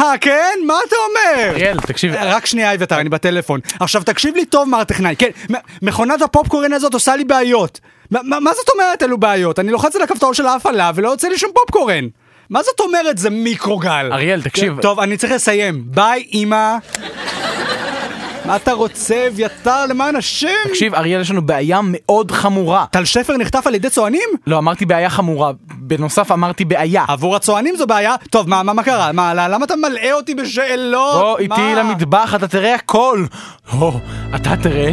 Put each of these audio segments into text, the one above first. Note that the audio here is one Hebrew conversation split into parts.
אה, כן? מה אתה אומר? אריאל, תקשיב. אה, רק שנייה, אביתר, אני בטלפון. עכשיו, תקשיב לי טוב, מר טכנאי. כן, מ- מכונת הפופקורן הזאת עושה לי בעיות. מה- מה מה זאת אומרת אלו בעיות? אני לוחץ על הכפתור של ההפעלה ולא יוצא לי שום פופקורן. מה זאת אומרת זה מיקרוגל? כן, אריאל, תקשיב. טוב, אני צריך לסיים. ביי, אמא. מה אתה רוצה, אביתר, למען השם? תקשיב, אריאל, יש לנו בעיה מאוד חמורה. טל שפר נחטף על ידי צוענים? לא, אמרתי בעיה חמורה. בנוסף אמרתי בעיה. עבור הצוענים זו בעיה? טוב, מה, מה, מה קרה? מה, למה אתה מלאה אותי בשאלות? מה? בוא איתי למטבח, אתה תראה הכל. הו, אתה תראה.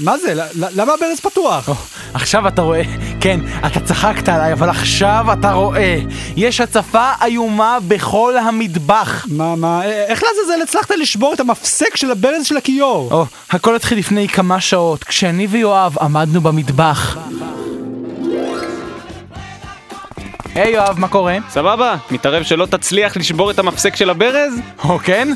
מה זה? ל- ל- למה הברז פתוח? הו, עכשיו אתה רואה. כן, אתה צחקת עליי, אבל עכשיו אתה רואה. יש הצפה איומה בכל המטבח. מה, מה, אה, איך לעזאזל הצלחת לשבור את המפסק של הברז של הכיור? או, הכל התחיל לפני כמה שעות, כשאני ויואב עמדנו במטבח. היי יואב, מה קורה? סבבה, מתערב שלא תצליח לשבור את המפסק של הברז? או, כן?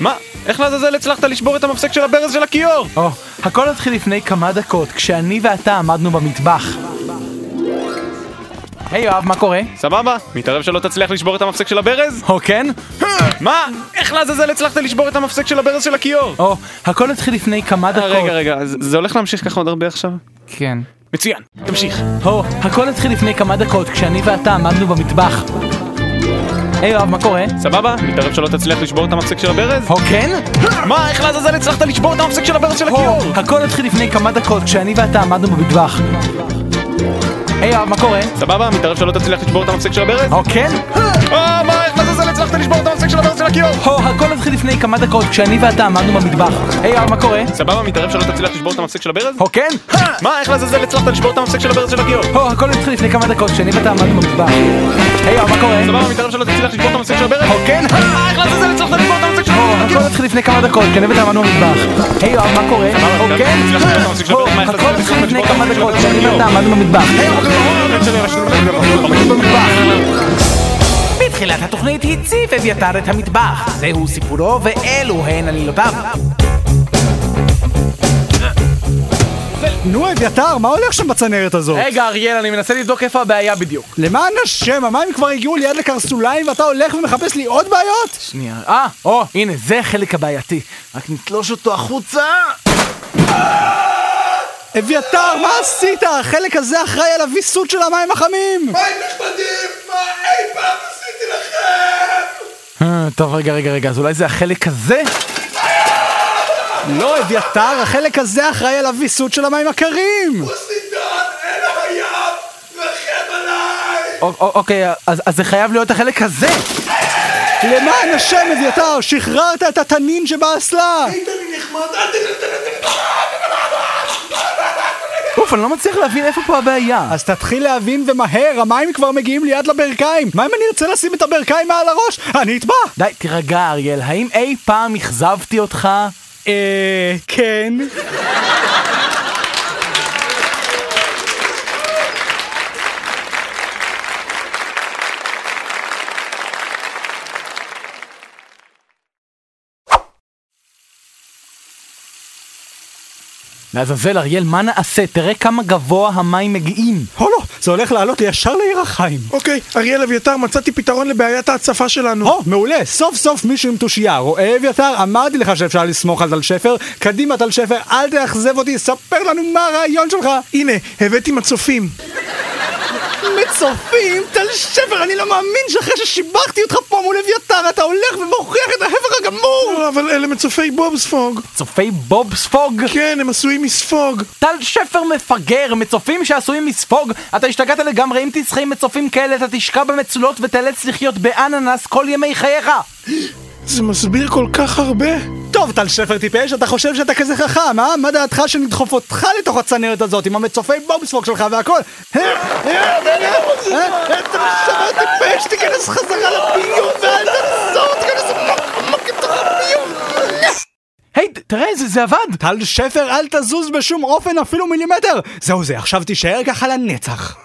מה? איך לעזאזל הצלחת לשבור את המפסק של הברז של הכיור? או, הכל התחיל לפני כמה דקות, כשאני ואתה עמדנו במטבח. היי יואב, מה קורה? סבבה, מתערב שלא תצליח לשבור את המפסק של הברז? או, כן? מה? איך לעזאזל הצלחת לשבור את המפסק של הברז של הכיור? או, הכל התחיל לפני כמה דקות. אה, רגע, רגע, אז זה הולך להמשיך ככה עוד הרבה עכשיו? כן. מצוין, תמשיך. או, הכל התחיל לפני כמה דקות, כשאני ואתה עמדנו במטבח. היי יואב, מה קורה? סבבה, מתערב שלא תצליח לשבור את המפסק של הברז? או, כן? מה? איך לעזאזל הצלחת לשבור את המפסק של הברז של הכיור? או, הכל התחיל לפני כמה דקות, כשאני ואתה עמדנו במטבח. היי יואב, מה קורה? סבבה, מתערב שלא תצליח לשבור את המפסק של הברז? או, כן? אה, מה? איך לעזאזל הצלחת לשבור את המפסק של הברז של הכיור? או, הכל התחיל לפני כמה דקות, כשאני ואתה עמדנו במטבח. היי יואב, מה קורה? סבבה, מתערב שלא תצליח לשבור את המפסק של הברז? או, כן? מה? איך לעזאזל הצלחת לשבור את המפסק של הברז של הכיור? או, הכל התחיל לפני כמה דקות, כשאני ואתה עמדנו במטבח. היי יואב, מה קורה? סבבה, מתערב שלא תצליח לשבור את המפסק של הברז? או, כן? אה, איך לעזאזל הצלחת לשבור את המפסק של או, הברז? הכל התחיל לפני כמה דקות, כשאני ואתה עמדנו במטבח. היי יואב, מה קורה? או, גם כן? הצלחת לשבור את המפסק של או, הברז? מה, הכל הצלחת התחיל לפני לשבור את כמה המפסק דקות, של כשאני הברז? ואתה עמדנו במטבח. אוקיי. בתחילת התוכנית הציף אביתר את המטבח. זהו סיפורו ואלו הן עלילותיו. נו, אביתר, מה הולך שם בצנרת הזאת? רגע, אריאל, אני מנסה לבדוק איפה הבעיה בדיוק. למען השם, המים כבר הגיעו לי עד לקרסוליים ואתה הולך ומחפש לי עוד בעיות? שנייה. אה, או, הנה, זה החלק הבעייתי. רק נתלוש אותו החוצה. אביתר, מה עשית? החלק הזה אחראי על הוויסות של המים החמים! מים נכבדים, מה אי פעם עשיתי לכם? אה, טוב, רגע, רגע, רגע, אז אולי זה החלק הזה? לא, אביתר, החלק הזה אחראי על הוויסות של המים הקרים! בוסידון, אל הים, רחם עליי! או- או- אוקיי, אז אז זה חייב להיות החלק הזה! למען השם, אביתר, שחררת את התנין שבאסלה! היית לי נחמד, אל תתן אוף, אני לא מצליח להבין איפה פה הבעיה. אז תתחיל להבין ומהר, המים כבר מגיעים לי עד לברכיים! מה אם אני ארצה לשים את הברכיים מעל הראש? אני אטבע! די, תירגע, אריאל, האם אי פעם אכזבתי אותך? אה... כן. לעזאזל, אריאל, מה נעשה? תראה כמה גבוה המים מגיעים. או לא, זה הולך לעלות לי ישר לירחיים. אוקיי, אריאל אביתר, מצאתי פתרון לבעיית ההצפה שלנו. או, מעולה, סוף סוף מישהו עם תושייה. רואה אביתר, אמרתי לך שאפשר לסמוך על טל שפר. קדימה טל שפר, אל תאכזב אותי, ספר לנו מה הרעיון שלך. הנה, הבאתי מצופים. מצופים, טל שפר, אני לא מאמין שאחרי ששיבחתי אותך פה מול אביתר, אתה הולך ומוכיח את ההפך הגמור! לא, אבל אלה מצופי בובספוג. צופי בוב ספוג? כן, הם עשויים מספוג. טל שפר מפגר, מצופים שעשויים מספוג? אתה השתגעת לגמרי, אם תסחי עם מצופים כאלה, אתה תשקע במצולות ותיאלץ לחיות באננס כל ימי חייך! זה מסביר כל כך הרבה. טוב, טל שפר טיפש, אתה חושב שאתה כזה חכם, אה? מה דעתך שנדחוף אותך לתוך הצנרת הזאת עם המצופי בובספוג שלך והכל? אה, אה, אה, אה, טל שפר טיפש, תיכנס חזרה לביוב ואל תחזור, תיכנס עמוק עמוק לתוך הביוב. היי, ת- תראה, זה, זה עבד! טל שפר, אל תזוז בשום אופן אפילו מילימטר! זהו זה, עכשיו תישאר ככה לנצח.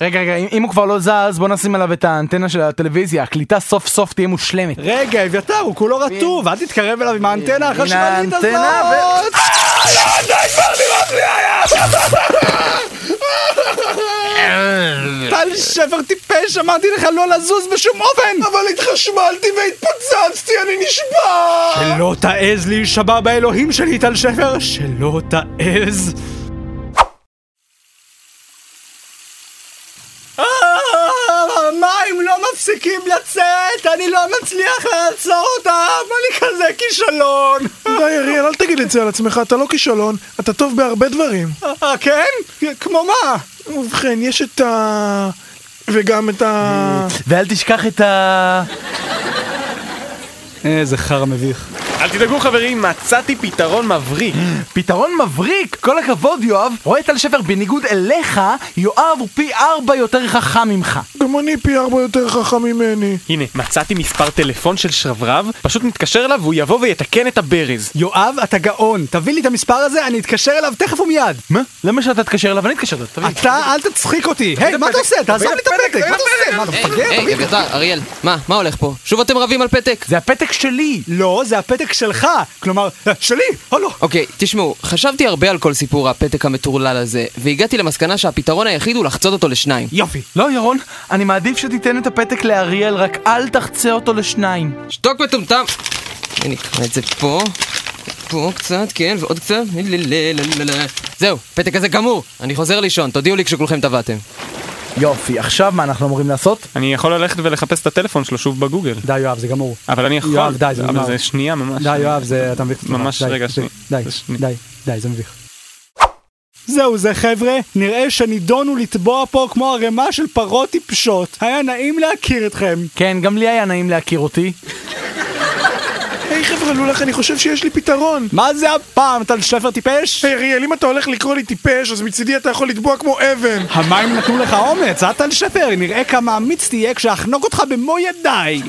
רגע, רגע, אם, אם הוא כבר לא זז, בוא נשים עליו את האנטנה של הטלוויזיה, הקליטה סוף סוף תהיה מושלמת. רגע, אביתר, הוא כולו רטוב, אל תתקרב אליו עם האנטנה החשמלית הזאת! האנטנה ו- אה, טל שפר טיפש, אמרתי לך לא לזוז בשום אופן! אבל התחשמלתי והתפוצצתי, אני נשבע! שלא תעז להישבע באלוהים שלי, טל שפר, שלא תעז. אה, המים לא מפסיקים לצאת, אני לא מצליח לעצור אותם, אני כזה כישלון. די, אריאל, אל תגיד את זה על עצמך, אתה לא כישלון, אתה טוב בהרבה דברים. אה, כן? כמו מה? ובכן, יש את ה... וגם את ה... ואל תשכח את ה... איזה חרא מביך. אל תדאגו חברים, מצאתי פתרון מבריק. פתרון מבריק! כל הכבוד, יואב! רואה טל שפר בניגוד אליך, יואב הוא פי ארבע יותר חכם ממך. גם אני פי ארבע יותר חכם ממני. הנה, מצאתי מספר טלפון של שרברב, פשוט נתקשר אליו והוא יבוא ויתקן את הברז. יואב, אתה גאון, תביא לי את המספר הזה, אני אתקשר אליו תכף ומיד. מה? למה שאתה תתקשר אליו? אני אתקשר אליו, תביא. אתה, אל תצחיק אותי. היי, מה אתה עושה? תעזוב לי את הפתק, מה אתה עושה? מה, אתה היי, מפגר? היי, תביא לי. אביתר, אריאל, מה, מה הולך פה? שוב אתם רבים על פתק? זה הפתק שלי! לא, זה הפתק שלך. כלומר, אה, שלי, הלו. אוקיי, תשמעו, חשבתי הרבה על כל סיפור הפתק המטורלל הזה, והגעתי למסקנה שהפתרון היחיד הוא לחצות אותו לשניים. יופי. לא, ירון, אני מעדיף שתיתן את הפתק לאריאל, רק אל תחצה אותו לשניים. שתוק מטומטם! הנה, נקרא את זה פה, פה קצת, כן, ועוד קצת. לללללללה. זהו, פתק הזה גמור! אני חוזר לישון, תודיעו לי כשכולכם טבעתם. יופי, עכשיו מה אנחנו אמורים לעשות? אני יכול ללכת ולחפש את הטלפון שלו שוב בגוגל. די, יואב, זה גמור. אבל אני יכול. יואב, די, זה נגמר. אבל זה שנייה ממש. די, יואב, זה... אתה מביך. ממש, די, רגע, די, שנייה. די, זה שנייה. די, די, זה מביך. זהו זה חבר'ה, נראה שנידונו לטבוע פה כמו ערימה של פרות טיפשות. היה נעים להכיר אתכם. כן, גם לי היה נעים להכיר אותי. היי חבר'ה לולך, אני חושב שיש לי פתרון. מה זה הפעם, טל שפר טיפש? היי אריאל, אם אתה הולך לקרוא לי טיפש, אז מצידי אתה יכול לטבוע כמו אבן. המים נתנו לך אומץ, אה טל שפר? נראה כמה אמיץ תהיה כשאחנוק אותך במו ידיי.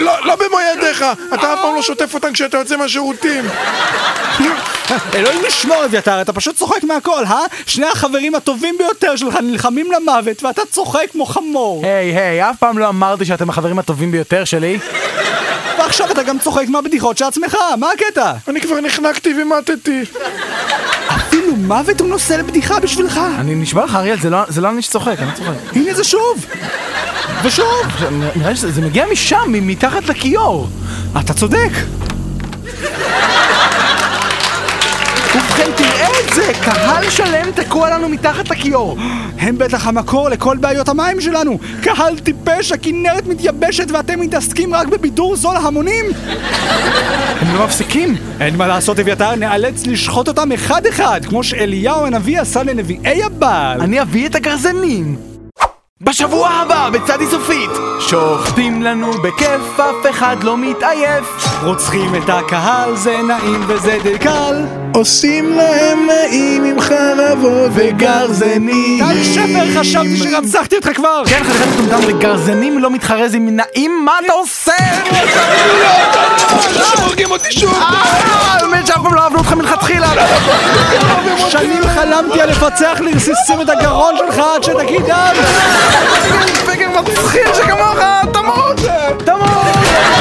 לא, לא במו ידיך, אתה אף פעם לא שוטף אותן כשאתה יוצא מהשירותים. אלוהים ישמור אביתר, אתה פשוט צוחק מהכל, אה? שני החברים הטובים ביותר שלך נלחמים למוות ואתה צוחק כמו חמור. היי, היי, אף פעם לא אמרתי שאתם החברים הטובים ביותר שלי. ועכשיו אתה גם צוחק מהבדיחות של עצמך, מה הקטע? אני כבר נחנקתי ומטתי. אפילו מוות הוא נושא לבדיחה בשבילך. אני נשבע לך, אריאל, זה לא- זה לא אני שצוחק, אני לא צוחק. הנה זה שוב! ושוב! עכשיו, נראה לי שזה זה מגיע משם, מ- מתחת לכיור. אתה צודק! ובכן, תראה את זה! קהל שלם תקוע לנו מתחת לכיור. הם בטח המקור לכל בעיות המים שלנו! קהל טיפש, הכנרת מתייבשת ואתם מתעסקים רק בבידור זול המונים? הם לא מפסיקים. אין מה לעשות אביתר, נאלץ לשחוט אותם אחד-אחד, כמו שאליהו הנביא עשה לנביאי הבעל. אני אביא את הגרזנים. בשבוע הבא, בצד איסופית! שוחטים לנו בכיף, אף אחד לא מתעייף. רוצחים את הקהל, זה נעים וזה די קל. עושים להם נעים עם חרבות וגרזנים. טל שפר, חשבתי שרצחתי אותך כבר! כן, חתיכת מטומטם וגרזנים לא מתחרז עם נעים, מה אתה עושה? הורגים אותי שוב! אה, באמת שאף פעם לא אהבנו אותך מלכתחילה. שנים חלמתי על לפצח לרסיסים את הגרון שלך עד שתגיד דם! פגר מצחיק שכמוך, תמות! תמות!